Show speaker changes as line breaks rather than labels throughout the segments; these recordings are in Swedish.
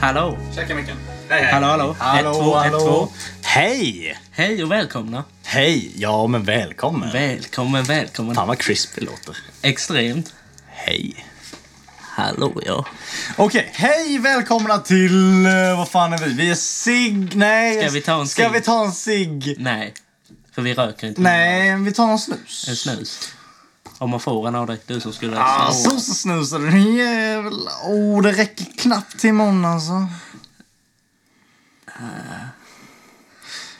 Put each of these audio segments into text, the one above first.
Hallå!
Käka micken. Hej, hej.
Hallå, hallå!
Hallå,
ett, två,
hallå.
ett, två.
Hej!
Hej och välkomna!
Hej! Ja, men välkommen.
Välkommen, välkommen!
Fan vad crisp det låter.
Extremt!
Hej.
Hallå, ja.
Okej, hej välkomna till... eh, vad fan är vi? Vi är sig... Nej.
Ska vi ta en
Ska
cigg?
vi ta en cigg?
Nej, för vi röker inte.
Nej, vi tar en snus.
En snus. Om man får en av dig, du som skulle...
Ah, Sossesnusar, din jävel. Åh, oh, det räcker knappt till imorgon alltså.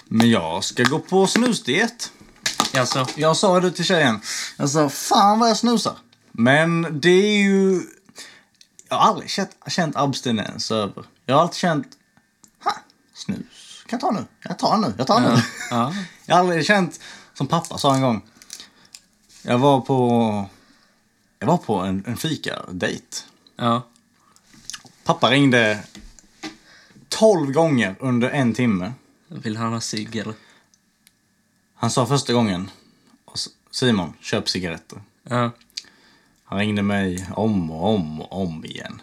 Men jag ska gå på snusdiet.
Alltså,
Jag sa det till tjejen. Jag sa, fan vad jag snusar. Men det är ju... Jag har aldrig känt, känt abstinens över. Jag har alltid känt, ha, snus. Kan jag ta nu? Jag tar nu, jag tar nu.
ja.
Jag har aldrig känt, som pappa sa en gång. Jag var på, jag var på en, en fika-dejt.
ja.
Pappa ringde 12 gånger under en timme.
Vill han ha cigg eller?
Han sa första gången, Simon, köp cigaretter.
Ja.
Han ringde mig om och om och om igen.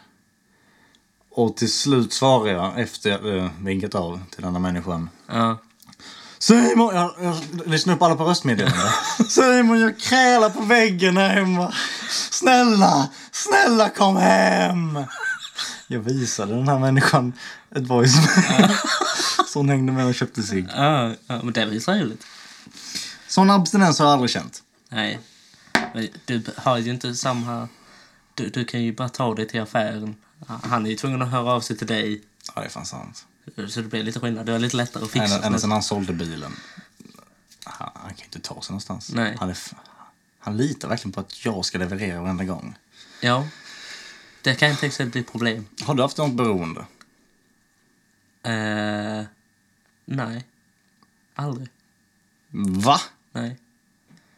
Och till slut svarade jag efter jag eh, vinkat av till denna människan.
Ja.
Simon! Jag, jag lyssnade upp alla på röstmeddelanden. Simon, jag krälar på väggen här hemma. Snälla, snälla kom hem! Jag visade den här människan ett voicemail. Så hon hängde med och köpte sig.
Ja, ja, men det är väl trevligt?
Sån abstinens har jag aldrig känt.
Nej. Men du har ju inte samma... Du, du kan ju bara ta dig till affären. Han är ju tvungen att höra av sig till dig.
Ja, det är fan sant.
Så det blir lite skillnad. Det är lite lättare att fixa.
Ända, ända sedan han sålde bilen. Han, han kan ju inte ta sig någonstans.
Nej.
Han, är, f- han litar verkligen på att jag ska leverera varenda gång.
Ja. Det kan inte exakt bli problem.
Har du haft något beroende?
Eh, nej. Aldrig.
Va?
Nej.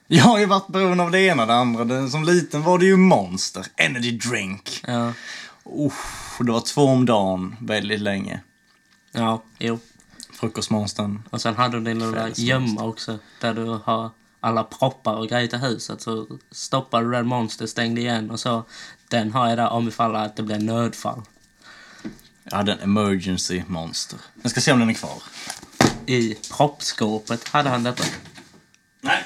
Jag har ju varit beroende av det ena och det andra. Det- Som liten var det ju Monster, Energy Drink.
Ja.
Usch, det var två om dagen väldigt länge.
Ja, jo.
Frukostmonstern.
Och sen hade du din lilla
Fällsmonster.
gömma också. Där du har alla proppar och grejer till huset. Så stoppade du den monster, stängde igen och så. Den har jag där om ifall att det blir nödfall.
Jag hade en Emergency Monster. Jag ska se om den är kvar.
I proppskåpet hade han detta.
Nej,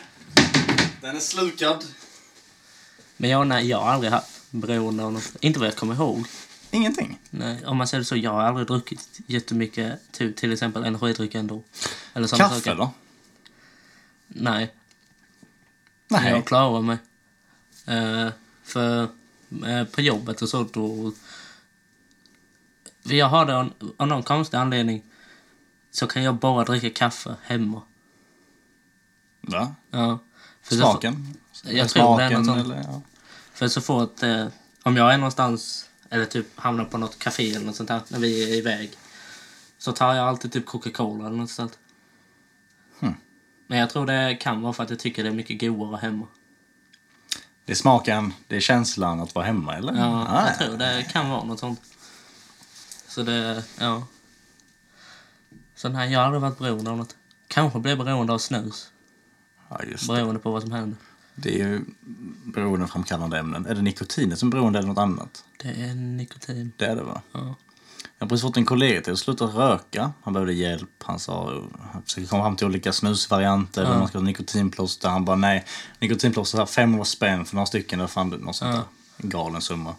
den är slukad.
Men jag, nej, jag har aldrig haft beroende av något. Inte vad jag kommer ihåg.
Ingenting.
Nej, om man säger det så, jag har aldrig druckit jättemycket till, till exempel energidryck ändå. Eller såna
Kaffe
saker.
då?
Nej,
Nej.
jag klarar mig. Eh, för eh, på jobbet och så då... Jag har det av- av någon konstig anledning så kan jag bara dricka kaffe hemma.
Va?
Ja. För så-
Smaken?
Jag tror det är
Smaken
något sånt.
eller? Ja.
För så fort, eh, om jag är någonstans eller typ hamnar på något café eller något sånt där när vi är iväg så tar jag alltid typ Coca-Cola eller något sånt.
Hm.
Men jag tror det kan vara för att jag tycker det är mycket godare hemma.
Det är smaken, det är känslan att vara hemma eller?
Ja,
Ah,
jag tror det kan vara något sånt. Så det, ja. Så nej, jag har aldrig varit beroende av något. Kanske blir beroende av snus.
ja, just det.
Beroende på vad som händer.
Det är ju beroendeframkallande ämnen. Är det nikotinet som är beroende eller något annat?
Det är nikotin.
Det är det va?
Ja.
Jag har precis fått en kollega till att sluta röka. Han behövde hjälp. Han sa han försökte komma fram till olika snusvarianter. Eller om man ska ha nikotinplåster. Han bara nej. Nikotinplåster här 500 spänn för några stycken. Eller fan, något sånt där. En galen summa.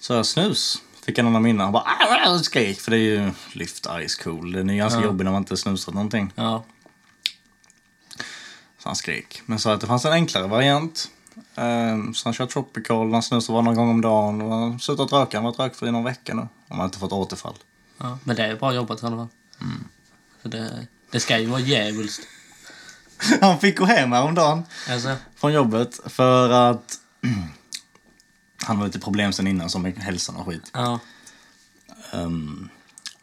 Så jag snus. Fick en annan minne. Han bara "Ah, ah", skrek. För det är ju lyft ice cool. Den är ju ganska jobbig när man inte snusat någonting.
Ja.
Så han skrek. Men sa att det fanns en enklare variant. Ehm, Så han kör tropical, han snusar bara någon gång om dagen och han har slutat röka. Han har varit rökfri i någon vecka nu. Om han har inte fått återfall.
ja. Men det är bra jobbat i alla fall.
Mm.
För det, det ska ju vara djävulskt.
Han fick gå hem häromdagen
Alltså,
från jobbet för att han hade lite problem sen innan som med hälsan och skit.
ja.
Ehm,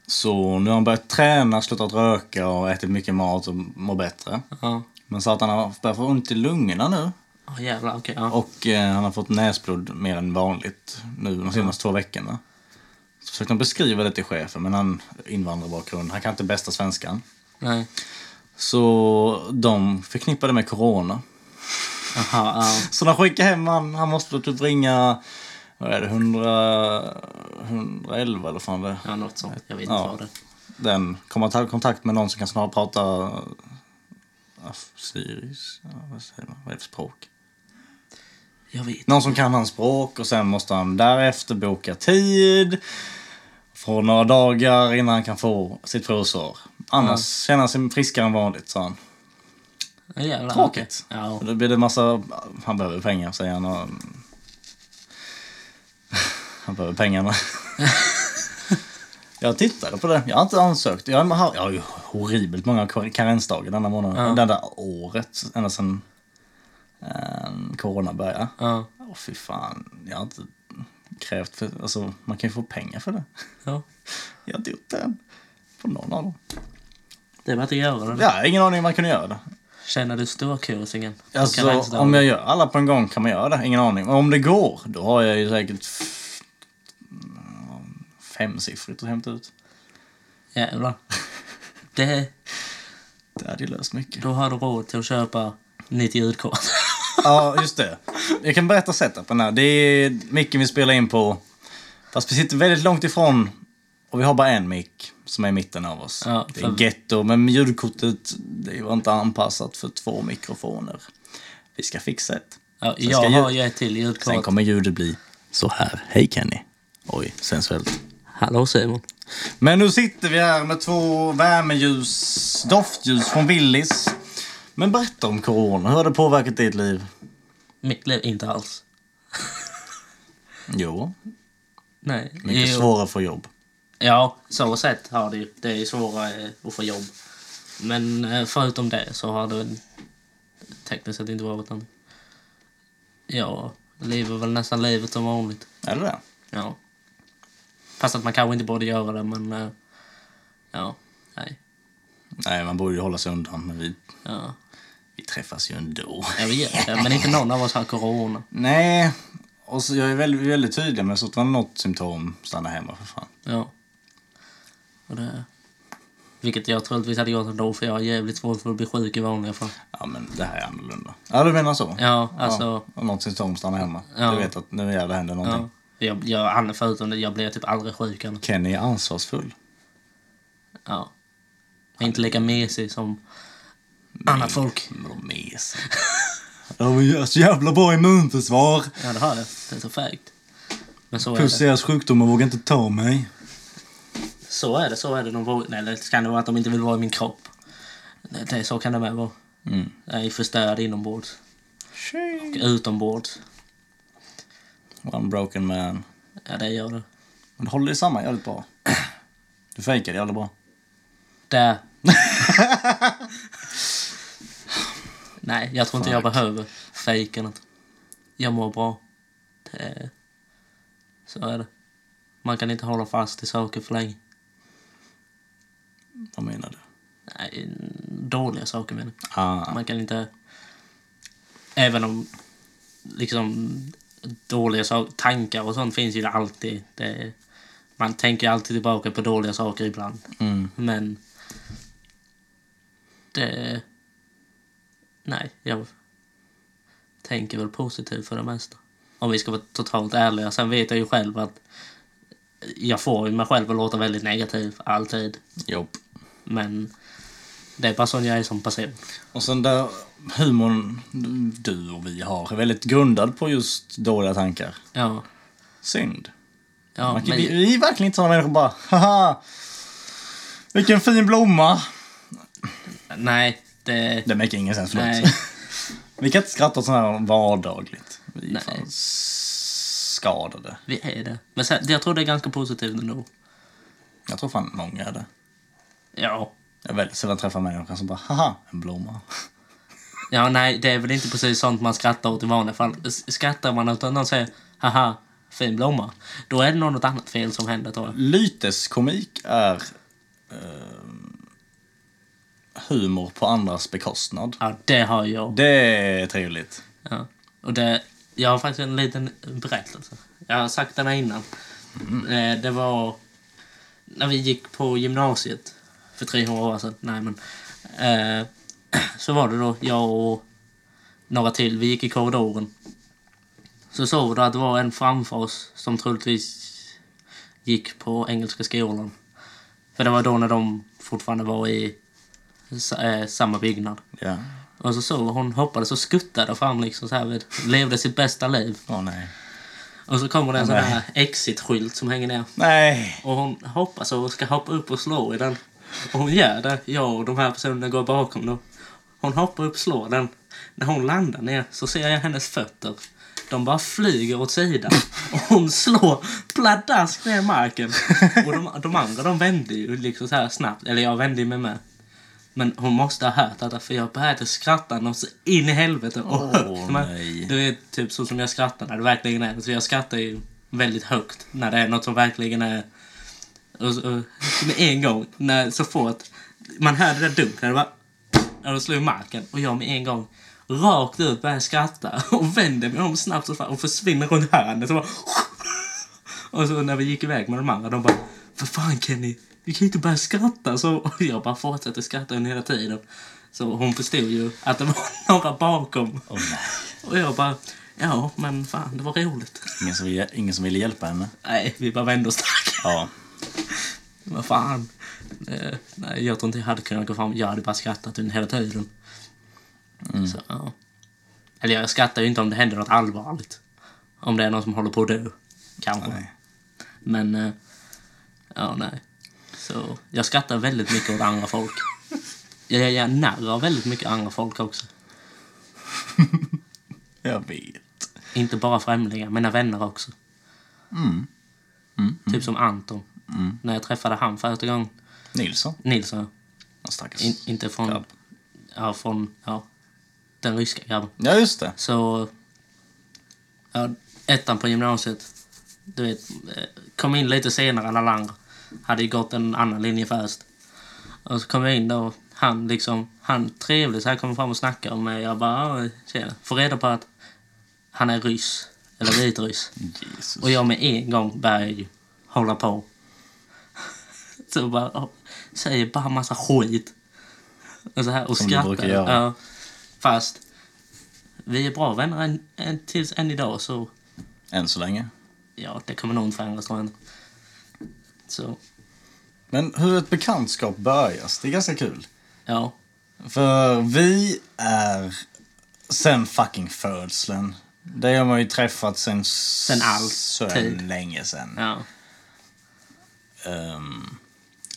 Så nu har han börjat träna, slutat röka och ätit mycket mat och mår bättre.
Ja.
Men så att han har börjat få ont i lungorna nu.
Oh, jävlar, okej. ja.
Och eh, han har fått näsblod mer än vanligt nu de senaste två veckorna. Så försökte han beskriva det till chefen, men han invandrarbakgrund. Han kan inte bästa svenskan.
Nej.
Så de förknippade med corona.
Jaha, ja.
Så de skickade hem han, han måste typ ringa vad är det, 100, 111 eller fan det
Ja, något sånt. Jag vet inte
Ja.
vad det är.
Den kommer att ta kontakt med någon som kan snarare prata afsyrisk? Ja, vad säger man? Vad är det för språk?
Jag vet.
Någon som kan hans språk och sen måste han därefter boka tid. Från några dagar innan han kan få sitt provsvar. Annars känner han sig friskare än vanligt, sa han.
Ja, jävlar,
Tråkigt.
okej. Ja.
Och Då blir det massa... Han behöver pengar, säger han. Och... Han behöver pengarna. jag tittade på det. Jag har inte ansökt. Jag har, jag har ju horribelt många kar- karensdagar denna månad.
Ja.
Det där året, ända sedan eh, corona började.
Ja.
Åh fy fan, jag har inte krävt för... Alltså, man kan ju få pengar för det.
ja.
Jag har inte gjort det än. På någon av dem.
Det är bara att göra det.
Ja, jag har ingen aning om man kunde göra det.
Känner du storkusingen?
Alltså, om jag gör alla på en gång kan man göra det. Ingen aning. Och om det går, då har jag ju säkert f- mm, femsiffrigt att hämta ut.
Jävlar. Det,
Det hade ju löst mycket.
då har du råd till att köpa nytt ljudkort.
ja, just det. Jag kan berätta setupen här. Det är micken vi spelar in på. Fast vi sitter väldigt långt ifrån. Och vi har bara en mick som är i mitten av oss.
Ja,
det
för-
är getto, men ljudkortet det var inte anpassat för två mikrofoner. Vi ska fixa det.
Ja,
Sen ska
jag
ljud-
har ju ett till ljudkort.
Sen kommer ljudet bli så här. Hej Kenny. Oj, sensuellt.
Hallå Simon.
Men nu sitter vi här med två värmeljus, doftljus från Willys. Men berätta om corona, hur har det påverkat ditt liv?
Mitt liv, inte alls.
Jo,
Nej.
mycket
Jo.
svårare att få jobb.
Ja, så sett har det ju. Det är ju svårare eh, att få jobb. Men eh, förutom det så har det tekniskt sett inte varit någonting. Ja, lever väl nästan livet som vanligt.
Är det det?
Ja. Fast att man kanske inte borde göra det, men... eh, Ja, nej.
Nej, man borde ju hålla sig undan, men vi,
Ja.
vi träffas ju ändå.
Jag vet det, men inte någon av oss har corona.
Nej, och så, jag är väldigt, väldigt tydlig med så att det var något symptom, stanna hemma för fan.
Ja. Och det... Vilket jag troligtvis hade gjort ändå, för jag har jävligt svårt för att bli sjuk i vanliga fall.
Ja, men det här är annorlunda. Ja, du menar så?
Ja, alltså...
Ja, och något symptom, stanna hemma.
Ja.
Du vet att nu är det händer någonting.
Ja. Jag, jag, han- förutom det, jag blir typ aldrig sjuk. än.
Kenny är ansvarsfull.
Ja. Jag är inte lika mesig som annat folk.
Mes. De har så jävla bra immunförsvar.
Ja, det har jag. Det är så fegt. Men så är
Plus
det.
deras sjukdomar vågar inte ta mig.
Så är det. Så är det. De vågar, nej, eller så kan det vara att de inte vill vara i min kropp. Det, det, så kan det med vara.
Mm.
Jag är förstörd inombords. Och utombords.
One broken man.
Ja, det gör det.
Men du håller dig samman jävligt bra. Du fejkar jävligt bra.
Där. nej, jag tror inte jag behöver fejka något. Jag mår bra. Det är... Så är det. Man kan inte hålla fast i saker för länge.
Vad menar du?
Nej, dåliga saker menar jag.
Ah,
Man kan inte... Även om liksom dåliga saker, tankar och sånt finns ju alltid. Det är, man tänker ju alltid tillbaka på dåliga saker ibland.
mm.
Men... Det... Nej, jag tänker väl positivt för det mesta. Om vi ska vara totalt ärliga. Sen vet jag ju själv att jag får ju mig själv att låta väldigt negativ alltid.
Jobb.
Men det är bara sån jag är som person.
Och sen där humorn du och vi har är väldigt grundad på just dåliga tankar.
Ja.
Synd.
ja
Man kan, vi,
men,
vi är verkligen inte såna människor bara haha. Vilken fin blomma.
nej, det...
Det make ingen sens, förlåt.
Nej.
Vi kan inte skratta åt sånt här vardagligt. Vi är
Nej.
fan skadade.
Vi är det. Men sen, jag tror det är ganska positivt ändå.
Jag tror fan många är det.
Ja.
Jag väldigt sällan träffar människor som bara haha, en blomma.
Ja, nej, det är väl inte precis sånt man skrattar åt i vanliga fall. S- Skrattar man åt att någon säger haha, fin blomma, då är det nog något annat fel som händer tror jag.
Lyteskomik är eh, humor på andras bekostnad.
Ja, det har jag.
Det är trevligt.
Ja. Och det, jag har faktiskt en liten berättelse. Jag har sagt den här innan. Eh, Det var när vi gick på gymnasiet för 300 år sedan. Alltså, Nej, men, eh, så var det då jag och några till. Vi gick i korridoren. Så såg vi då att det var en framför oss som troligtvis gick på Engelska skolan. För det var då när de fortfarande var i sa- eh, samma byggnad.
Ja.
Och så såg hon hoppades och skuttade fram liksom så här vid, levde sitt bästa liv.
Åh nej.
Och så kommer det en sån
Nej.
här exit-skylt som hänger ner.
Nej!
Och hon hoppas och ska hoppa upp och slå i den. Och hon gör det. Jag och de här personerna går bakom då. Hon hoppar upp och slår den. När hon landar ner så ser jag hennes fötter. De bara flyger åt sidan. Och hon slår pladask ner i marken. Och de, de andra de vände ju liksom så här snabbt. Eller jag vände ju mig med. Men hon måste ha hört detta för jag började skratta något så in i helvete. Och
Åh,
högt. Men
nej.
Det är typ så som jag skrattar när det verkligen är. Så jag skrattar ju väldigt högt när det är något som verkligen är och, så- och, med en gång, när, så fort man hörde det där dunkna, det var när de slog i marken och jag med en gång rakt ut började skratta och vände mig om snabbt som fan och försvinner runt hörnet. Och, bara, och så när vi gick iväg med de andra, de bara Vad fan Kenny, du kan ju inte börja skratta så. Och jag bara fortsatte skratta under hela tiden. Så hon förstod ju att det var några bakom.
Åh nej.
Och jag bara Ja, men fan, det var roligt.
Ingen som, ville, ingen som ville hjälpa henne.
Nej, vi bara vände oss tack.
Ja.
Vad fan. Eh, nej, jag tror inte jag hade kunnat gå fram. Jag hade bara skrattat under hela tiden. Så, ja. Eller jag skrattar ju inte om det händer något allvarligt. Om det är någon som håller på att dö. Kanske.
Nej.
Men, eh, ja nej. Så jag skrattar väldigt mycket åt andra folk. Jag jag gör narr av väldigt mycket andra folk också.
Jag vet.
Inte bara främlingar, mina vänner också. Typ som Anton. När jag träffade han första gången.
Nilsson.
Nilsson,
Den stackars.
In, inte från...
Grabb.
Ja, från ja, den ryska grabben.
Ja, just det.
Så... Ja, ettan på gymnasiet. Du vet, eh, kom in lite senare än alla andra. Hade ju gått en annan linje först. Och så kom jag in då. och Han liksom, han trevlig så här kom fram och snackade om mig. Jag bara, "Ja, tjena. Får reda på att han är ryss. Eller vitryss.
Jesus.
Och jag med en gång börjar ju hålla på. Så bara, ja, säger bara massa skit. Och, så här, och
Som du
skrattar.
brukar göra.
Ja. Fast vi är bra vänner än, än, tills än idag så
Än så länge.
ja, det kommer nog inte förändras tror jag inte. Så
Men hur ett bekantskap börjas, det är ganska kul.
ja,
För vi är sen fucking födseln. Det har man ju träffat sen... Sen
all tid.
länge sen.
ja,
Ehm,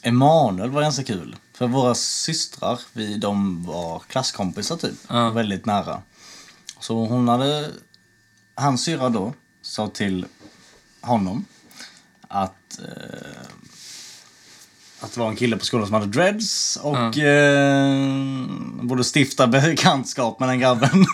Emanuel var ganska kul. För våra systrar, vi, de var klasskompisar typ.
Ja.
Väldigt nära. Så hon hade... Hans syrra då sa till honom att... eh, att det var en kille på skolan som hade dreads och eh, borde stifta bekantskap med den grabben.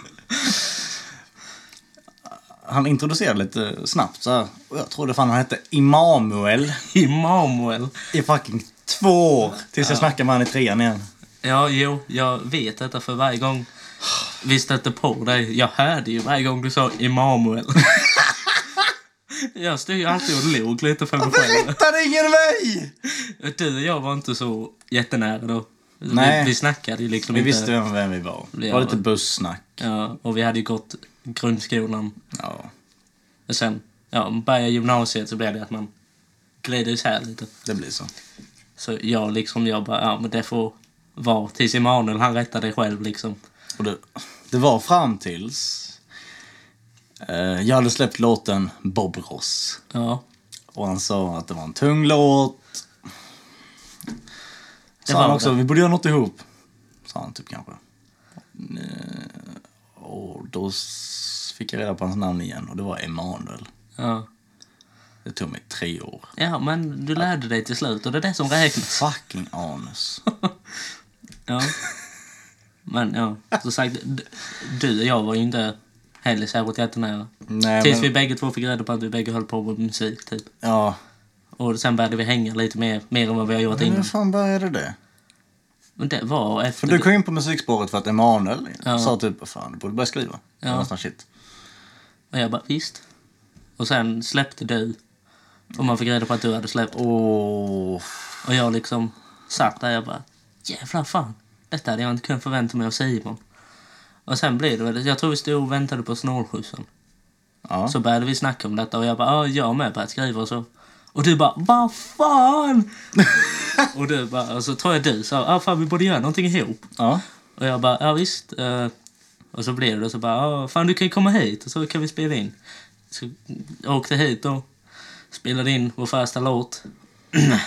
Han introducerade lite snabbt så här. Och jag trodde fan han hette Immanuel
Immanuel.
i fucking två år tills jag snackade med han i trean igen.
Ja, jo, jag vet detta för varje gång vi stötte på dig. Jag hörde ju varje gång du sa Immanuel. jag stod ju alltid och log lite för mig själv.
Berättade ingen mig!
Du och jag var inte så jättenära då.
Nej.
Vi, vi snackade ju liksom
Vi
inte.
visste vem, vem vi var. Det var lite bussnack.
Ja, och vi hade ju gått grundskolan.
Ja,
Och sen, ja, började gymnasiet så blev det att man glider isär lite.
det blir så.
Så jag liksom, jag bara, ja men det får vara. Tills Emanuel, han rättade det själv liksom.
Och det, det var fram tills... Eh, jag hade släppt låten Bob Ross.
Ja.
Och han sa att det var en tung låt.
Det
Sa
var
han också,
det.
vi borde göra något ihop. Sa han typ kanske. Eh, Och då s- fick jag reda på hans namn igen och det var Emanuel.
Ja.
Det tog mig tre år.
Ja, men du lärde dig till slut och det är det som räknas.
Fucking anus.
Ja. Men ja, som sagt, d- du och jag var ju inte heller särskilt jättenära.
Nej,
Tills
men-
vi bägge två fick reda på att vi bägge höll på med musik typ.
Ja.
Och sen började vi hänga lite mer, mer än vad vi har gjort
Men hur
innan.
fan började det?
Men det var
Mm. För
efter...
du kom in på musikspåret för att Emanuel
Ja.
sa typ, fan du borde börja skriva. Eller något sånt shit.
Och jag bara, visst. Och sen släppte du. Och man fick reda på att du hade släppt.
Åh.
Och jag liksom satt där jag bara, jävlar fan. Detta hade jag inte kunnat förvänta mig av Simon. Och sen blev det väl, jag tror vi stod och väntade på snålskjutsen.
Ja.
Så började vi snacka om detta och jag bara, ja jag har med börjat skriva och så. Och du bara vad fan? och du bara, och så tror jag du sa ah, fan vi borde göra någonting ihop.
Ja.
Och jag bara ja visst. eh." och så blev det och så bara ah, fan du kan ju komma hit och så kan vi spela in. Så jag åkte hit och spelade in vår första låt.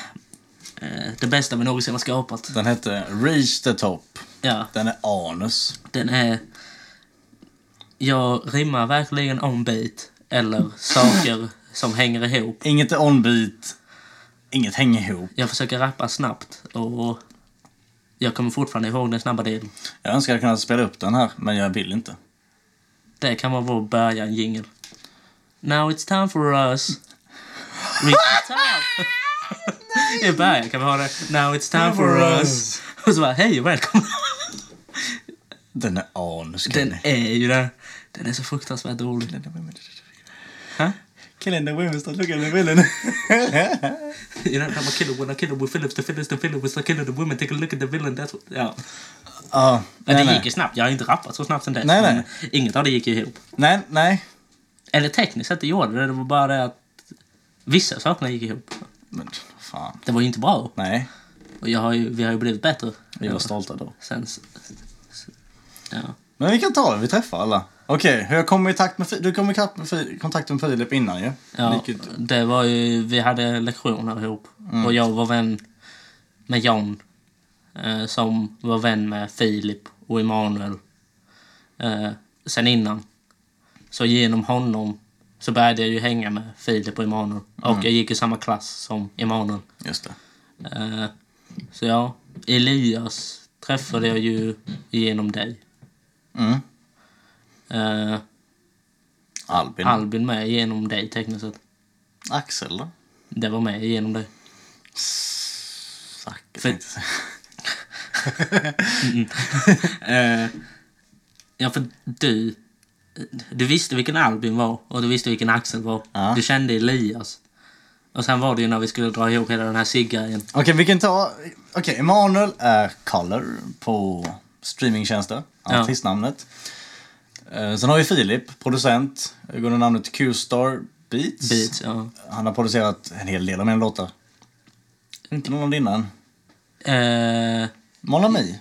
Eh, det bästa vi någonsin har skapat.
Den hette Reach the Top.
Ja,
Den är anus.
den är... Jag rimmar verkligen on beat eller saker som hänger ihop.
Inget är on-beat. Inget hänger ihop.
Jag försöker rappa snabbt och jag kommer fortfarande ihåg den snabba delen.
Jag önskar jag kunde spela upp den här, men jag vill inte.
Det kan vara vår början jingle. Now it's time for us. Reach the top! I början kan vi ha det. Now it's time for us. Och så bara, hej och välkomna.
Den är anus.
Den är ju det. Den är så fruktansvärt dålig. Huh?
Killen the women start looking at the villain.
You don't have a killer when I kill with Phillips, the Phillips, the Phillips, the killer, the women, take a look at the villain, that's what... Ja.
Ja, nej,
Men det gick
nej.
ju snabbt, jag har inte rappat så snabbt sen dess.
Nej,
men
nej.
Inget av det gick ju ihop.
nej, nej.
Eller tekniskt sett det gjorde det, det var bara det att vissa sakerna gick ihop.
Men fan.
Det var ju inte bra.
Nej,
Och jag har ju, vi har ju blivit bättre.
vi var stolta då.
Sen... s- s- Ja.
Men vi kan ta det, vi träffar alla. Okej, hur jag kom i takt med Fi- Du kom i kontakt med, Fi- kontakt med Filip innan ju.
ja
Vilket-
det var ju, vi hade lektioner ihop.
Mm.
Och jag var vän med John. Eh, som var vän med Filip och Emanuel. Eh, sen innan. Så genom honom så började jag ju hänga med Filip och Emanuel.
Mm.
Och jag gick i samma klass som Emanuel.
Just det.
Eh, så ja, Elias träffade jag ju genom dig.
Mm.
Eh,
Albin.
Albin med genom dig tekniskt sett.
Axel då?
Det var med genom dig.
Sack,
För-
tänkte jag säga.
Eh, ja, för du... Du visste vilken Albin var och du visste vilken Axel var.
Ja.
Du kände Elias. Och sen var det ju när vi skulle dra ihop hela den här ciggrejen.
Okej, vi kan ta... Okej, Emanuel är Color på streamingtjänster.
Ja.
Artistnamnet. Eh, Sen har vi Filip, producent. Jag Går under namnet Q-star Beats.
Beats, ja.
Han har producerat en hel del av mina låtar. Inte någon innan.
Eh,
Mon Ami.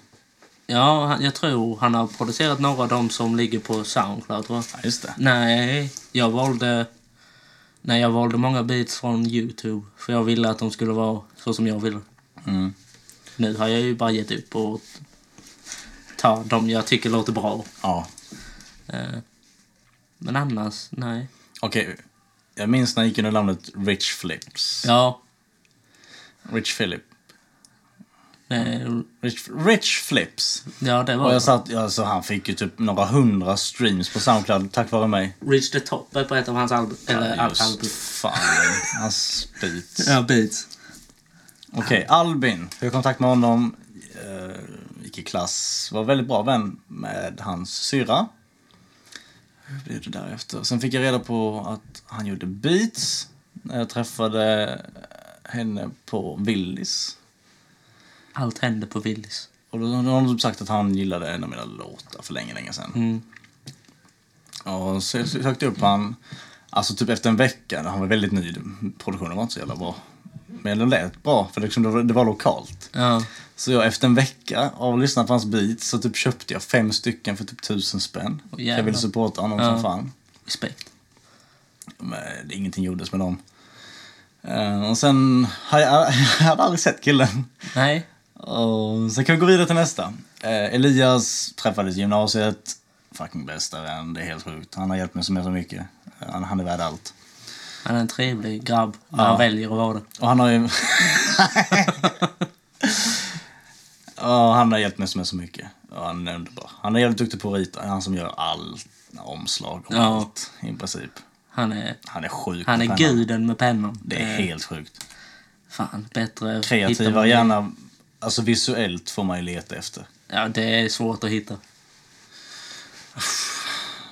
ja, han- jag tror han har producerat några av dem som ligger på Soundcloud, tror jag.
Ja, just det.
Nej, jag valde... Nej, jag valde många beats från Youtube. För jag ville att de skulle vara så som jag ville.
Mm.
Nu har jag ju bara gett upp och ta de jag tycker låter bra.
Ja.
Eh, Men annars, nej.
Okej. Jag minns när han gick under namnet Rich Flips.
Ja,
Rich Philip.
nej,
Rich, Rich Flips.
eh, ja det
Och
var
jag
det.
satt, alltså, han fick ju typ några hundra streams på Soundcloud tack vare mig.
Reach the Top är på ett av hans album. Eller
Ja,
al-
just
album.
Fan, han spits.
Ja, beats.
Okej, Albin. Jag har kontakt med honom. Uh, gick i klass. Var väldigt bra vän med hans syra. Hur blev det därefter? Sen fick jag reda på att han gjorde beats. När jag träffade henne på Willys.
Allt hände på Willys.
Och då, då har hon typ sagt att han gillade en av mina låtar för länge, länge sedan.
Mm.
Och så jag sökte upp han, alltså typ efter en vecka, när han var väldigt ny. Produktionen var inte så jävla bra. Men den lät bra, för liksom det, var, det var lokalt.
Ja,
Så jag efter en vecka av att lyssna på hans beats så typ köpte jag fem stycken för typ tusen spänn. För jag
jävlar.
ville supporta honom
Ja.
som fan.
respekt.
Men det- ingenting gjordes med dem. Eh, Och sen har jag, jag hade aldrig sett killen.
Nej.
Och sen kan vi gå vidare till nästa. Eh, Elias träffades i gymnasiet. Fucking bästa vän, det är helt sjukt. Han har hjälpt mig så mycket. så mycket. Eh, Han, han är värd allt.
Han är en trevlig grabb när han väljer att vara det.
Och han har ju... och han har hjälpt mig så med så mycket. Och han är underbar. Han är jävligt duktig på att rita. Han är han som gör allt omslag och
Ja.
allt i princip.
Han är,
Han är sjuk
han
med
är eh,
pennan.
guden med pennan.
Det är helt sjukt.
Fan, bättre... hittar
Kreativa
man-
hjärna, alltså visuellt får man ju leta efter.
Ja, det är svårt att hitta.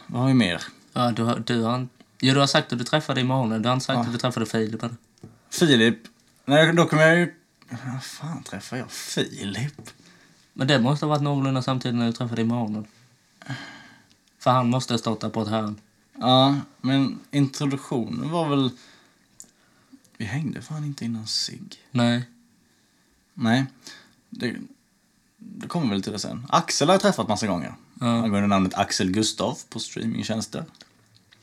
Vad har vi mer?
Ja, du har, du har, ja, du har sagt att du träffade Emanuel. Du har inte sagt att du träffade Filip. eller?
Filip. Nej, då kommer jag ju... Vad fan träffar jag Filip?
Men det måste ha varit någorlunda samtidigt när du träffade Emanuel. För han måste ha stått där på ett hörn.
Ja, men introduktionen var väl... Vi hängde fan inte innan sig.
Nej.
Nej. Det, det kommer väl till det sen. Axel har jag träffat massa gånger.
Ja.
Han går under namnet Axel Gustav på streamingtjänster.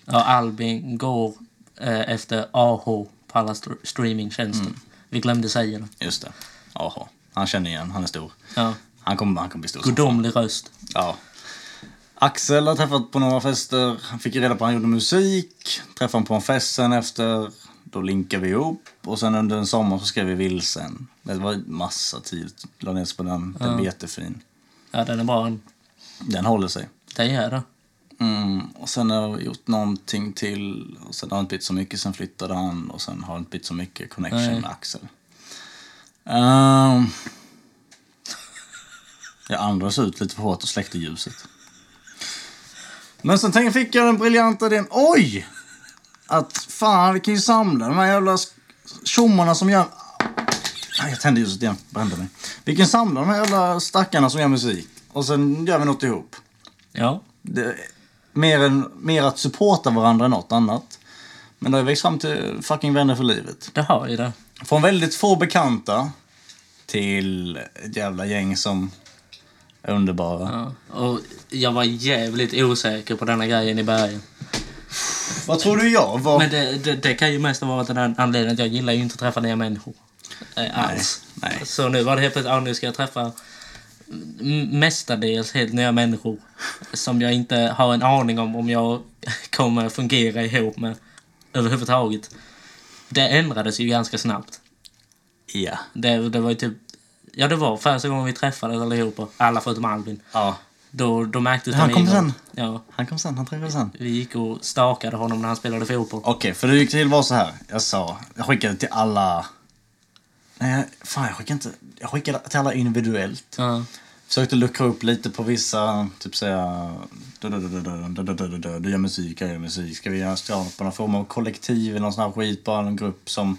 Ja, Albin går eh, efter AH på alla str- streamingtjänster. Vi glömde säga det.
Just det. Jaha. Han känner igen, han är stor.
Ja.
Han kommer, han kommer bli stor. som
Gudomlig röst.
Ja. Axel har träffat på några fester. Han fick reda på att han gjorde musik. Träffade honom på en fest sen efter. Då linkade vi ihop. Och sen under en sommar så skrev vi Vilsen. Det var massa tid. La ner sig på den. Den blev jättefin.
Ja, den är bra.
Den håller sig.
Den gör det.
Mm. Och sen har jag gjort någonting till. Och sen har han inte bytt så mycket. Sen flyttade han. Och sen har han inte bytt så mycket connection
Nej.
med Axel. Ehm. Jag andades ut lite för hårt och släckte ljuset. Men sen tänk, fick jag den briljanta idén. Oj! Att fan, vi kan ju samla de här jävla sk- tjommarna som gör... Nej, Jag tände ljuset igen. Brände mig. Vi kan samla de här jävla stackarna som gör musik. Och sen gör vi något ihop
Ja.
det, mer, än, mer att supporta varandra än något annat. Men det har ju växt fram till fucking vänner för livet.
Det har ju det.
Från väldigt få bekanta till ett jävla gäng som är underbara.
Ja. Och jag var jävligt osäker på denna grejen i början.
Vad tror du jag var?
Men det, det, det kan ju mest vara den här anledningen att jag gillar ju inte att träffa nya människor. Eh, alls.
nej.
Så nu var det helt plötsligt, ah, nu ska jag träffa m- mestadels helt nya människor som jag inte har en aning om om jag kommer fungera ihop med överhuvudtaget. Det ändrades ju ganska snabbt.
Ja.
Det, det var ju typ, ja det var första gången vi träffades allihopa, alla förutom Albin.
ja.
Då, då märktes det
Han kom
med en gång.
sen.
Ja,
Han kom sen, han träffade sen.
vi gick och stakade honom när han spelade fotboll.
Okej, för det gick till var så här. Jag sa, jag skickade till alla... Nej, fan jag skickade inte. Jag skickade till alla individuellt.
Ja.
Försökte luckra upp lite på vissa, typ säga du, du, du, du, du, du, du, du, du, du, du gör musik, jag gör musik. Ska vi göra ska vi ha på någon form av kollektiv eller någon sån här skit, bara en grupp som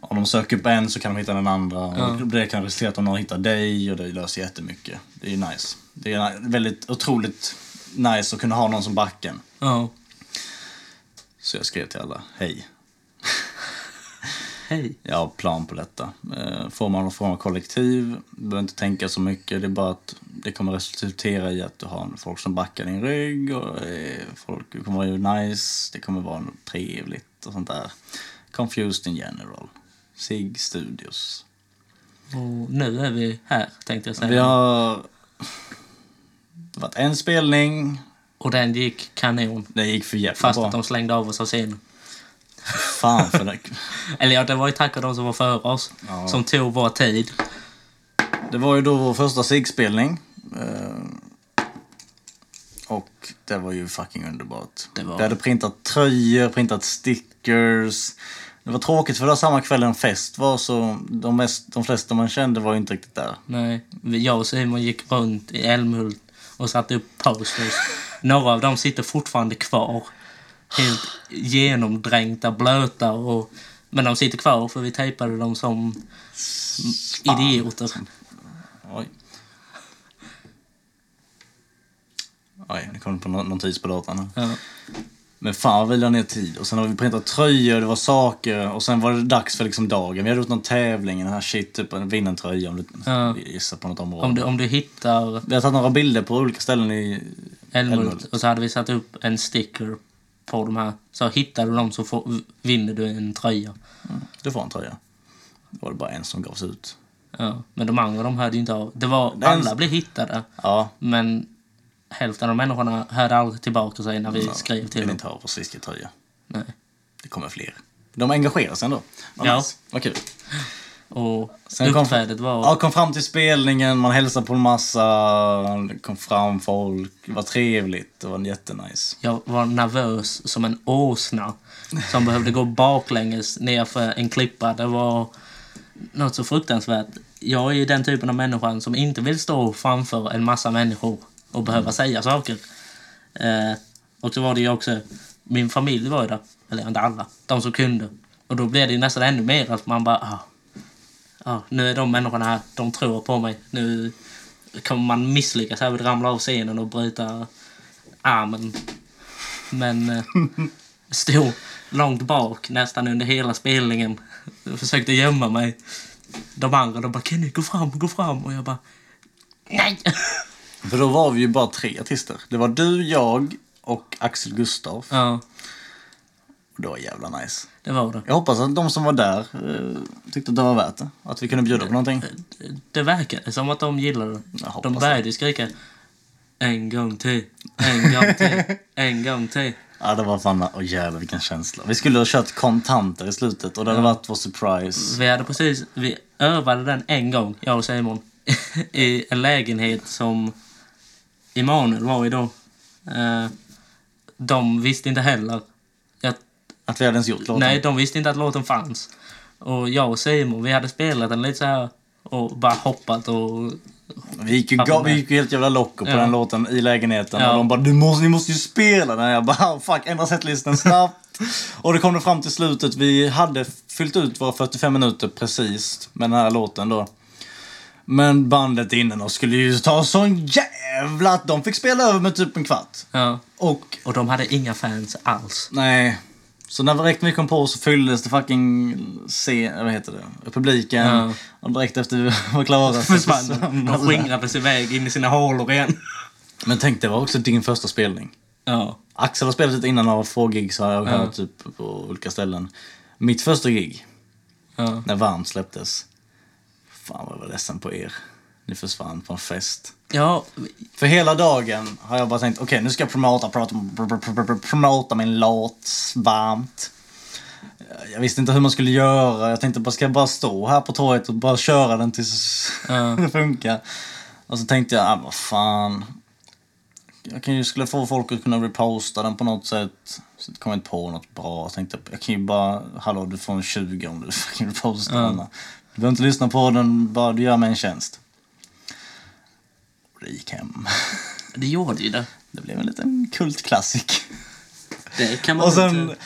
om de söker upp en så kan de hitta den andra. Och det kan resultera i att någon hittar dig och det löser jättemycket. Det är ju nice. Det är väldigt otroligt nice att kunna ha någon som backen.
Ja.
Så jag skrev till alla, hej.
Hej.
Jag har plan på detta. Eh, Får man någon form av kollektiv, du behöver inte tänka så mycket. Det är bara att det kommer resultera i att du har folk som backar din rygg och eh, folk det kommer vara nice, det kommer vara trevligt och sånt där. Confused in general. SIG Studios.
Och nu är vi här, tänkte jag säga.
Vi har det har varit en spelning,
Och den gick kanon.
det gick för jävla
Fast att
bra.
de slängde av oss av scenen.
Fan för det.
Eller ja, det var ju tack vare de som var före oss.
Ja.
Som tog vår tid.
Det var ju då vår första SIG-spelning. Eh, Och det var ju fucking underbart.
Det var-
Vi hade printat tröjor, printat stickers. Det var tråkigt för det var samma kväll en fest var så de, mest, de flesta man kände var ju inte riktigt där.
Nej, jag och Simon gick runt i Älmhult och satte upp posters. Några av dem sitter fortfarande kvar. Helt genomdränkta, blöta och... Men de sitter kvar för vi tejpade dem som idioter.
Oj. Oj, nu kom det på no- notis på datorn. här.
Ja.
Men fan vad vi la ner tid. Och sen har vi printat tröjor, det var saker. Och sen var det dags för liksom dagen. Vi hade gjort någon tävling, den här shit, typ en- vinn en tröja om du
Ja.
gissar på något område.
Om, du, om du hittar
Vi har tagit några bilder på olika ställen i...
Älmhult
Älmhult.
och så hade vi satt upp en sticker på de här. Så hittar du dem så får, vinner du en tröja.
Du får en tröja. Det var det bara en som gavs ut.
Ja, men de andra de hörde ju inte av. Det var,
Den-
alla blev hittade,
Ja,
men hälften av människorna hörde aldrig tillbaka sig när vi skrev
vill
till dem.
inte ha på tröja.
Nej.
Det kommer fler. De engagerar sig ändå. Vad
Ja.
nice. Vad kul.
Och
Sen kom-
uppträdet var...
Ja, kom fram till spelningen, man hälsade på en massa, det kom fram folk, det var trevligt, det var jättenice.
Jag var nervös som en åsna som behövde gå baklänges nerför en klippa. Det var något så fruktansvärt. Jag är ju den typen av människan som inte vill stå framför en massa människor och behöva säga saker. Eh, och så var det ju också, min familj var ju där, eller inte alla, de som kunde. Och då blev det ju nästan ännu mer att man bara, ah, ah, nu är de människorna här, de tror på mig. Nu kommer man misslyckas här, vill ramla av scenen och bryta armen. Men eh, Stod långt bak nästan under hela spelningen. Jag försökte gömma mig. De andra de bara “Kenny, gå fram, gå fram” och jag bara “Nej!”
För då var vi ju bara tre artister. Det var du, jag och Axel Gustav.
Ja,
Och det var jävla nice.
det var det.
Jag hoppas att de som var där eh, tyckte att det var värt det. Att vi kunde bjuda
Eh,
på någonting.
Det verkade som att de gillade det.
Jag hoppas
De
det.
började ju skrika “En gång till, en gång till, en gång till”.
Ja, det var fan... Åh jävlar vilken känsla. Vi skulle ha kört kontanter i slutet och det hade varit vår surprise.
Vi hade precis, vi övade den en gång, jag och Simon. I en lägenhet som Emanuel var i då. Eh, de visste inte heller. Jag,
Att vi hade ens gjort låten.
nej, de visste inte att låten fanns. Och jag och Simon, vi hade spelat den lite så här och bara hoppat och...
Vi gick ju,
Pappa
ga- vi
med.
gick ju helt jävla locko på
Ja.
den låten i lägenheten.
Ja.
Och de bara du måste, ni måste ju spela den. Jag bara "Ah, fuck, ändra setlistan snabbt. och det kom det fram till slutet. Vi hade fyllt ut våra 45 minuter precis med den här låten då. Men bandet innan oss skulle ju ta sån jävla att de fick spela över med typ en kvart.
Ja.
Och
Och de hade inga fans alls.
nej. Så när direkt vi kom på så fylldes det fucking se, eh, vad heter det, publiken.
Ja.
Och direkt efter vi var klara så
Försvann.
försvann
De
alla.
skingrades iväg in i sina hålor igen.
Men tänk det var också din första spelning.
Ja.
Axel har spelat lite innan av få gig så har jag hört typ på olika ställen. Mitt första gig,
ja.
när Varmt släpptes. Fan vad jag var ledsen på er. Ni försvann på en fest.
Ja,
För hela dagen har jag bara tänkt, okej nu ska jag promota, prata, pr- pr- pr- pr- promota min låt varmt. Jag visste inte hur man skulle göra. Jag tänkte bara, ska jag bara stå här på torget och bara köra den tills
Ja.
det funkar? Och så tänkte jag, ah, vad fan. Jag kan ju, skulle få folk att kunna reposta den på något sätt. Så kom jag inte på något bra. Jag tänkte, jag kan ju bara, hallå du får en 20 om du fucking repostar den. här. Du behöver inte lyssna på den, bara du gör mig en tjänst. Och det gick hem.
det gjorde ju det.
Det blev en liten kultklassik.
Det kan man
Och sen
inte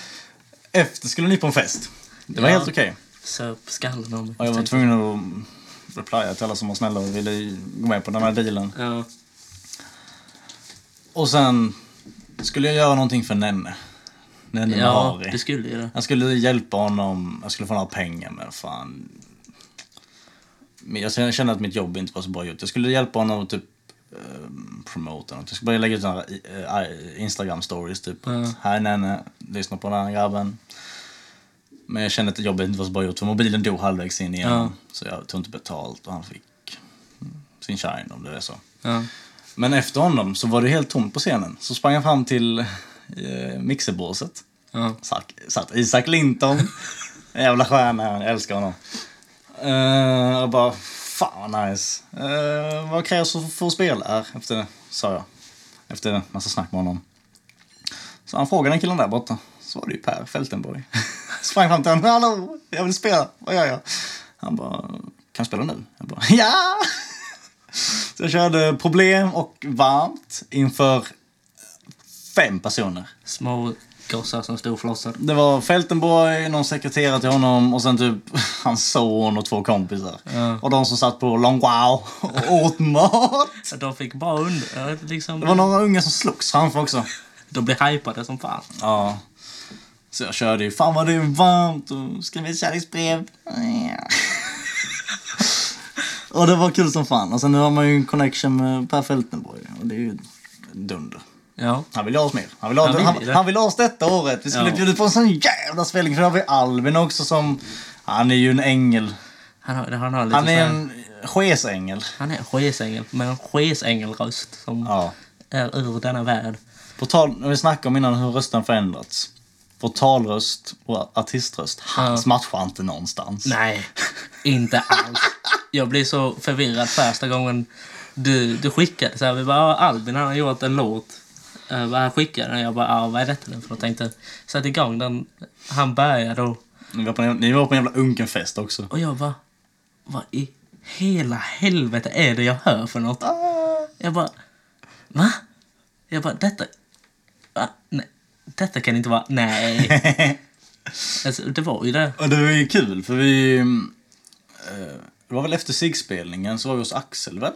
efter skulle ni på en fest. Det var
Ja.
helt okej. Typ.
söp skallen om.
Och jag var tvungen att replya till alla som var snälla och ville ju gå med på den här dealen.
Ja.
Och sen skulle jag göra någonting för Nenne. Nenne
Ja,
Mahari.
det skulle ju det.
Jag skulle hjälpa honom, jag skulle få några pengar men fan. Men jag kände att mitt jobb inte var så bra gjort. Jag skulle hjälpa honom att typ eh, promota något. Jag skulle bara lägga ut några eh, Instagram stories typ.
Ja.
att Här Nenne, lyssna på den här grabben. Men jag kände att jobbet inte var så bra gjort för mobilen dog halvvägs in igen.
Ja.
Så jag tog inte betalt och han fick mm, sin shine om det är så.
Ja.
Men efter honom så var det helt tomt på scenen. Så sprang jag fram till eh, mixerbåset.
Ja.
Sack, satt Isak Linton. En jävla stjärna, jag älskar honom. Eh, jag bara, fan vad nice. Eh, vad krävs för för att spela här? Efter det, sa jag. Efter en massa snack med honom. Så han frågade den killen där borta. Så var det ju Per Fältenborg. Sprang fram till honom. Hallå, jag vill spela. Vad gör jag? Han bara, kan jag spela nu? Jag bara, ja! Så jag körde problem och varmt inför fem personer.
Små gossar som stod och flossade.
Det var Feltenborg, någon sekreterare till honom och sen typ hans son och två kompisar.
Ja.
Och de som satt på Long Wow och åt mat.
Så De fick bra under... ja, Liksom,
Det var några unga som slogs framför också.
De blev hypade som fan.
Ja. Så jag körde ju “Fan vad det är varmt” och skrev ett kärleksbrev. Ja. och det var kul som fan. Och sen nu har man ju en connection med Per Feltenborg och det är ju dunder.
Ja.
Han vill ha oss mer. Han vill ha,
Han vill
han,
det.
han vill ha oss detta året. Vi skulle
Ja.
bjuda på en sån jävla spelning. För då har vi Alvin också som... Han är ju en ängel.
Han har, han har lite
Han är
så här-
en skesängel.
Han är en skesängel, men en skesängelröst som
Ja.
är ur denna värld.
På tal, när vi snackade om innan hur rösten förändrats. På talröst och artiströst. Hans matchar inte någonstans.
Nej, inte alls. Jag blev så förvirrad första gången du, du skickade. Så här, vi bara, "Ah, Albin han har gjort en låt. Eh, bara, Han skickade den jag bara, "Ah, vad är detta nu för något? Tänkte sätta igång den. Han började och,
Ni var på en, ni var på en jävla unken fest också.
och jag bara, vad i hela helvete är det jag hör för något? Jag bara, va? Jag bara, detta... Va? Nej. Detta kan inte vara... Nej. alltså, det var ju det.
Och det var ju kul för vi... eh, Det var väl efter SIG-spelningen så var vi hos Axel väl?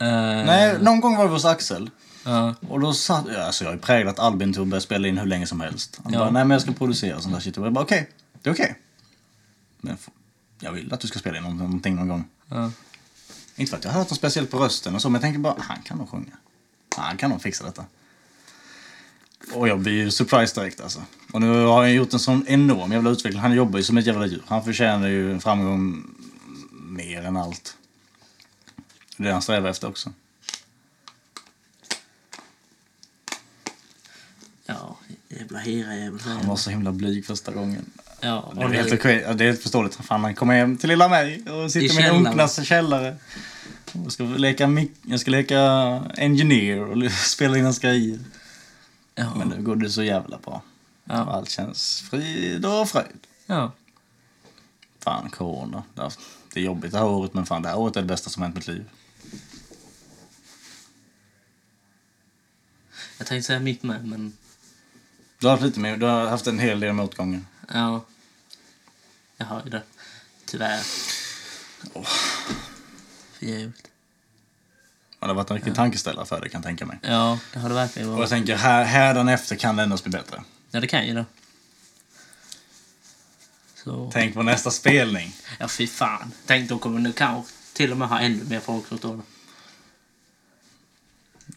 Eh,
Nej, någon gång var vi hos Axel.
Ja.
Och då satt jag, alltså jag har ju präglat Albin till att börja spela in hur länge som helst. Han
Ja.
bara, nej men jag ska producera sånt där shit. Och jag bara, okej, det är okej. Men f- jag vill att du ska spela in någon- någonting någon gång.
Ja.
Inte för att jag har hört något speciellt på rösten och så, men jag tänker bara, han kan nog sjunga. Han kan nog fixa detta. Och jag blir ju surprised direkt alltså. Och nu har han gjort en sån enorm jävla utveckling. Han jobbar ju som ett jävla djur. Han förtjänar ju en framgång mer än allt. Det är det han strävar efter också.
Ja, jävla herajävel.
Han var så himla blyg första gången.
Ja,
Det är,
och
helt
nu,
okej. Ja, det är helt förståeligt. Fan, han kommer hem till lilla mig och
I
sitter med
källaren.
onklarnas källare. Och ska leka, mik- jag ska leka engineer och spela in hans grejer.
ja,
Men nu går det så jävla bra. Och
ja,
allt känns frid och fröjd.
Ja.
Fan, corona. Det har- det är jobbigt det här året, men fan, det här året är det bästa som hänt mitt liv.
jag tänkte säga mitt med, men
Du har haft, lite mer, du har haft en hel del motgångar.
ja. Jag har ju det. Tyvärr. För jävligt.
Men det har varit en riktig tankeställare för dig, kan jag tänka mig.
Ja, det har det verkligen
Och jag
varit.
tänker, här, hädanefter kan det endast bli bättre.
Ja, det kan ju det. Så.
Tänk på nästa spelning.
Ja, fy fan. Tänk, då kommer nu kanske till och med ha ännu mer folk som står där.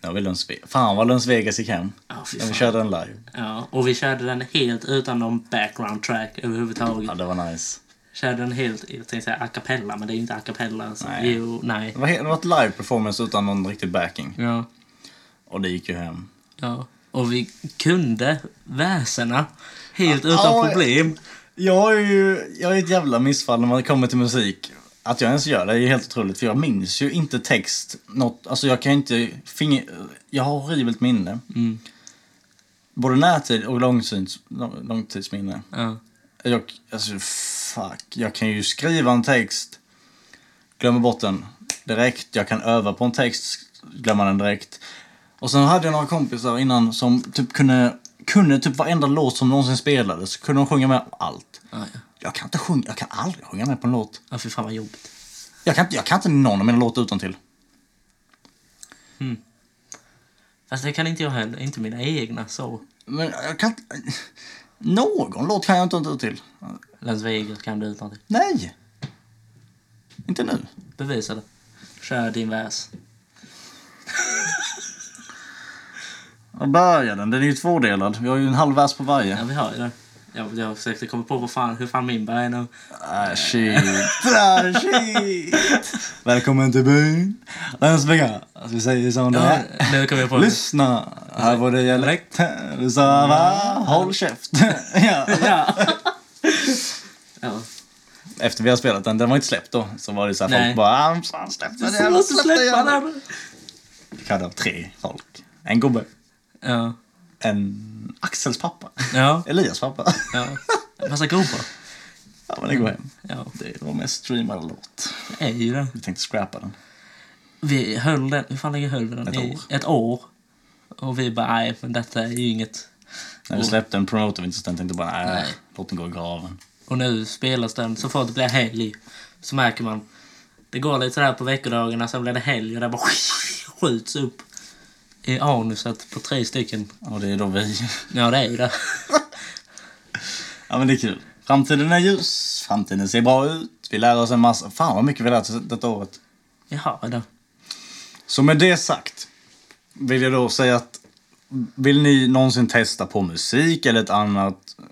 Det var Lunds, fan vad Lunds Vegas gick hem.
Ja, fy
När vi
fan.
körde den live.
Ja, och vi körde den helt utan någon background track överhuvudtaget.
Ja, det var nice.
Körde den helt, jag tänkte säga a cappella, men det är ju inte a cappella. Alltså.
Nej.
Jo, nej.
Det var, he- det var ett live performance utan någon riktig backing.
Ja,
Och det gick ju hem.
ja. Och vi kunde väsena helt utan
ja.
problem.
Jag är ju jag är ett jävla missfall när man kommer till musik. Att jag ens gör det är ju helt otroligt för jag minns ju inte text. Något, alltså jag kan inte... Finger, jag har horribelt minne.
Mm.
Både närtid och långtids, lång- långtidsminne.
Ja.
Jag, alltså fuck. Jag kan ju skriva en text, glömma bort den direkt. Jag kan öva på en text, glömma den direkt. Och sen hade jag några kompisar innan som typ kunde, kunde typ varenda låt som någonsin spelades, kunde de sjunga med allt.
Ja, ja.
Jag kan inte sjunga, jag kan aldrig sjunga med på en låt.
ja, fy fan vad jobbigt.
Jag kan inte, jag kan inte någon av mina låtar utan till.
Fast det kan inte jag heller, inte mina egna så.
Men jag kan inte... Någon låt kan jag inte utan till.
Las Vegas kan du utan till.
Nej! Inte nu.
Bevisa det. Kör din vers.
Jag börjar den, den är ju tvådelad. Vi har ju en halv vers på varje.
Ja, vi har ju det. Ja, jag försökte komma på vad fan, hur fan min bär är nu.
Ah, shit. Ah, shit. Välkommen till byn. Landsbygga. Alltså, vi säger som det
Ja,
är.
nu kom jag på det.
Lyssna. Här var det dialekt. Du sa va?
Mm.
Håll käft. ja.
Ja. ja.
Efter vi har spelat den, den var inte släppt då. Så var det så här
Nej.
folk bara ah, fan släpp den
Du
jävla,
måste
släpp den
släppa
jävla.
den!
Vi hade tre folk. En gubbe.
Ja.
En Axels pappa.
Ja.
Elias pappa.
ja. Massa gropar.
ja men det går hem.
Ja,
Det var mest streamad låt.
det är ju det.
Vi tänkte scrappa den.
Vi höll den, hur fan länge höll vi den?
Ett
I
år.
ett år. Och vi bara, nej, men detta är ju inget.
När vi
Och-
släppte den promotade vi inte så den tänkte bara nej,
Nej.
låt den gå i graven.
Och nu spelas den, så fort det blir helg så märker man, det går lite sådär på veckodagarna, sen blir det helg och det bara skjuts upp i anuset på tre stycken.
Och det är då vi.
Ja, det är ju det.
Ja men det är kul. Framtiden är ljus, framtiden ser bra ut. Vi lär oss en massa. Fan vad mycket vi lärt oss detta året.
Jaha, då.
Så med det sagt vill jag då säga att vill ni någonsin testa på musik eller ett annat eh,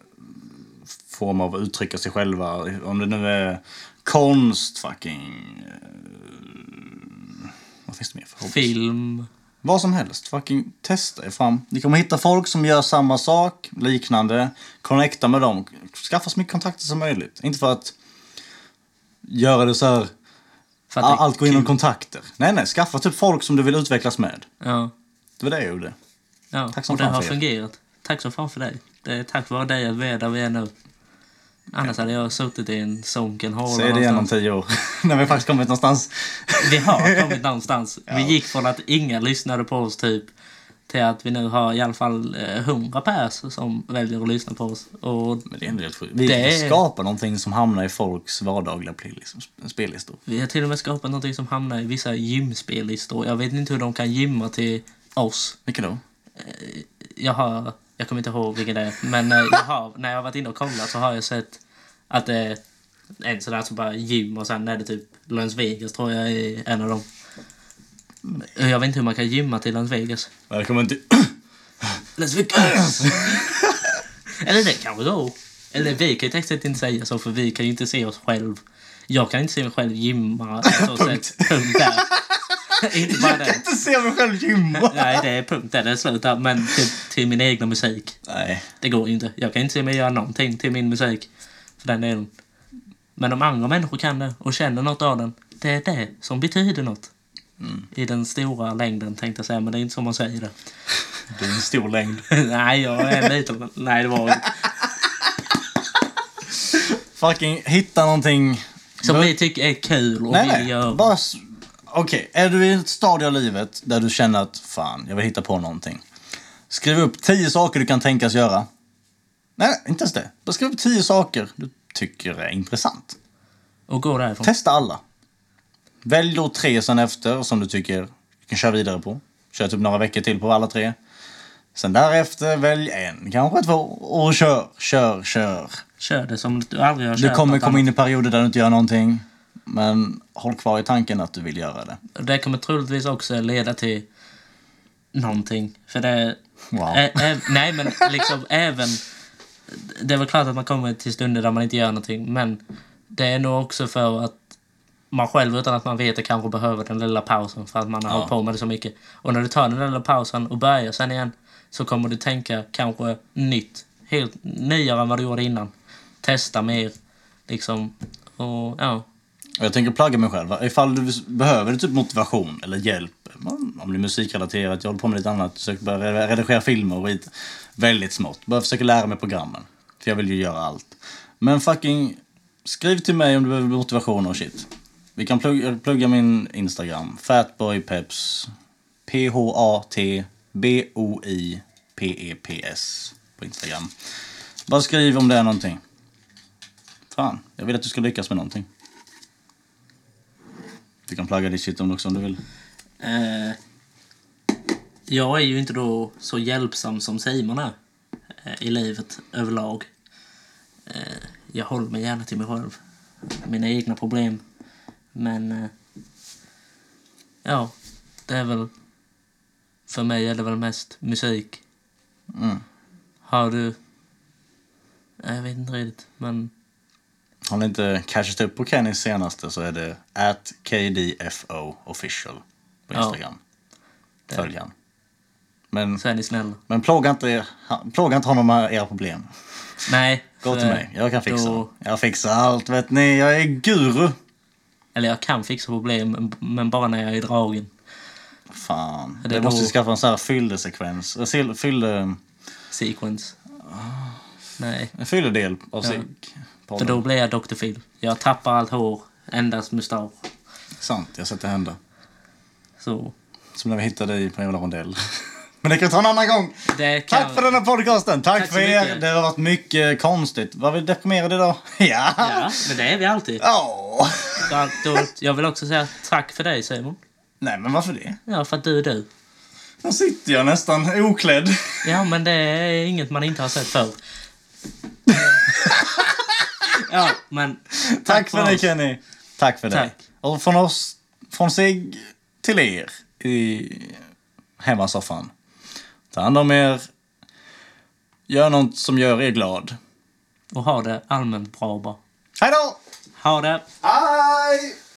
form av att uttrycka sig själva? Om det nu är konst, fucking... eh, Vad finns det mer för hobby?
Film.
Vad som helst. Fucking testa er fram. Ni kommer hitta folk som gör samma sak, liknande. Connecta med dem. Skaffa så mycket kontakter som möjligt. Inte för att göra det så här, "Ah,
För att det är
allt går inom
kul.
kontakter. Nej, nej. Skaffa typ folk som du vill utvecklas med.
Ja.
Det var det jag gjorde.
Ja,
Tack som
och det
fan
har
för er.
fungerat. Tack som fan för dig. Det är tack vare dig att vi är där vi är nu. Annars hade jag suttit i en sunken håla
Säg det igen om
någonstans.
tio år. När vi faktiskt kommit någonstans.
Vi har kommit någonstans. Vi gick från att inga lyssnade på oss typ till att vi nu har i alla fall eh, 100 pers som väljer att lyssna på oss. Och
Men det är ändå helt sjukt. Vi
Det är-
skapar någonting som hamnar i folks vardagliga play- liksom, spellistor.
vi har till och med skapat någonting som hamnar i vissa gymspellistor. Jag vet inte hur de kan gymma till oss.
Vilka då?
Eh, Jag har... Jag kommer inte ihåg vilken det är. Men eh, jag har, när jag har varit inne och kollat så har jag sett att det är en sån där som bara gym och sen är det typ Las Vegas tror jag är en av dem. Mm, Jag vet inte hur man kan gymma till Las Vegas.
Välkommen till...
Las Vegas! Eller det kanske då. Eller vi kan ju textet inte säga så för vi kan ju inte se oss själv. Jag kan inte se mig själv gymma. eh, Så
Punkt.
Sätt, punkt där. inte bara
Jag kan
det.
inte se mig själv gymma!
Nej, det är punkt där. Det är slut där. Men till, till min egna musik.
Nej.
Det går ju inte. Jag kan inte se mig göra någonting till min musik. För den delen. Men om andra människor kan det och känner något av den. Det är det som betyder något.
Mm.
I den stora längden tänkte jag säga, men det är inte som man säger det.
Du är en stor längd.
Nej, jag är lite... men- Nej, det var inte.
Fucking hitta någonting...
Som
Då-
vi tycker är kul och vill göra.
Nej, bara... s- Okej, är du i ett stadie av livet där du känner att fan, jag vill hitta på någonting. Skriv upp tio saker du kan tänkas göra. Nej, inte ens det. Bara skriv upp tio saker du tycker är intressant.
Och gå därifrån.
Testa alla. Välj då tre sen efter som du tycker du kan köra vidare på. Kör typ några veckor till på alla tre. Sen därefter välj en, kanske två och kör, kör, kör.
Kör det som du aldrig har
Du
kört
kommer
något
komma in i perioder där du inte gör någonting. Men håll kvar i tanken att du vill göra det.
annat. Det kommer troligtvis också leda till någonting. För det...
Wow.
Ä, ä, nej, men liksom även... Det är väl klart att man kommer till stunder där man inte gör någonting, men det är nog också för att man själv utan att man vet det kanske behöver den lilla pausen för att man har
Ja.
hållit på med det så mycket. Och när du tar den lilla pausen och börjar sen igen så kommer du tänka kanske nytt. Helt nyare än vad du gjorde innan. Testa mer. Liksom. Och ja.
Och jag tänker plugga mig själv. Ifall du behöver typ motivation eller hjälp. Om det är musikrelaterat, jag håller på med lite annat. Försöker börja redigera filmer och skit. Väldigt smått. Bara försöker lära mig programmen. För jag vill ju göra allt. Men fucking, skriv till mig om du behöver motivation och shit. Vi kan plugga, plugga min Instagram. Fatboypeps. P-H-A-T-B-O-I-P-E-P-S. E På Instagram. Bara skriv om det är någonting. Fan, jag vill att du ska lyckas med någonting. Du kan plugga ditt shit om det också om du vill.
Eh, jag är ju inte då så hjälpsam som Simon är eh, i livet överlag. Eh, jag håller mig gärna till mig själv, mina egna problem. Men eh, ja, det är väl... För mig är det väl mest musik.
Mm.
Har du... Nej, Jag vet inte riktigt, men...
Har ni inte cashat upp på Kennys senaste så är det at KDFO official på
Ja.
Instagram. Följ han. Men,
Så är ni snälla.
men plåga, inte er, ha- plåga inte honom med era problem.
Nej.
Gå
för-
till mig, jag kan fixa.
då-
Jag fixar allt vet ni, jag är guru.
Eller jag kan fixa problem, men- men bara när jag är dragen.
Fan,
Det
det
är
måste
då-
skaffa en sån här fyllesekvens. eh, sil- Fylle,
Sequence.
Ah.
Nej.
en fylledel av sig.
För då blir jag Dr. Phil. Jag tappar allt hår, endast mustasch.
Sant, jag har sett det hända.
Så
Som när vi hittade dig på en jävla rondell. Men det kan vi ta en annan gång.
det kan...
Tack för den här podcasten! Tack,
Tack så
för er!
mycket.
Det har varit mycket konstigt. Var vi deprimerade idag? Ja!
Ja, men det är vi alltid.
Åh.
Ja, då, jag vill också säga tack för dig Simon.
Nej, men varför det?
Ja, för att du är du.
Nu sitter jag nästan oklädd.
Ja, men det är inget man inte har sett förr. Ja, men...
Tack, för det,
oss.
Kenny. Tack för dig.
Tack.
Och från oss, från sig till er i hemmasoffan. Ta hand om er. Gör något som gör er glad.
Och ha det allmänt bra bara.
Hej då!
Ha det!
Hej!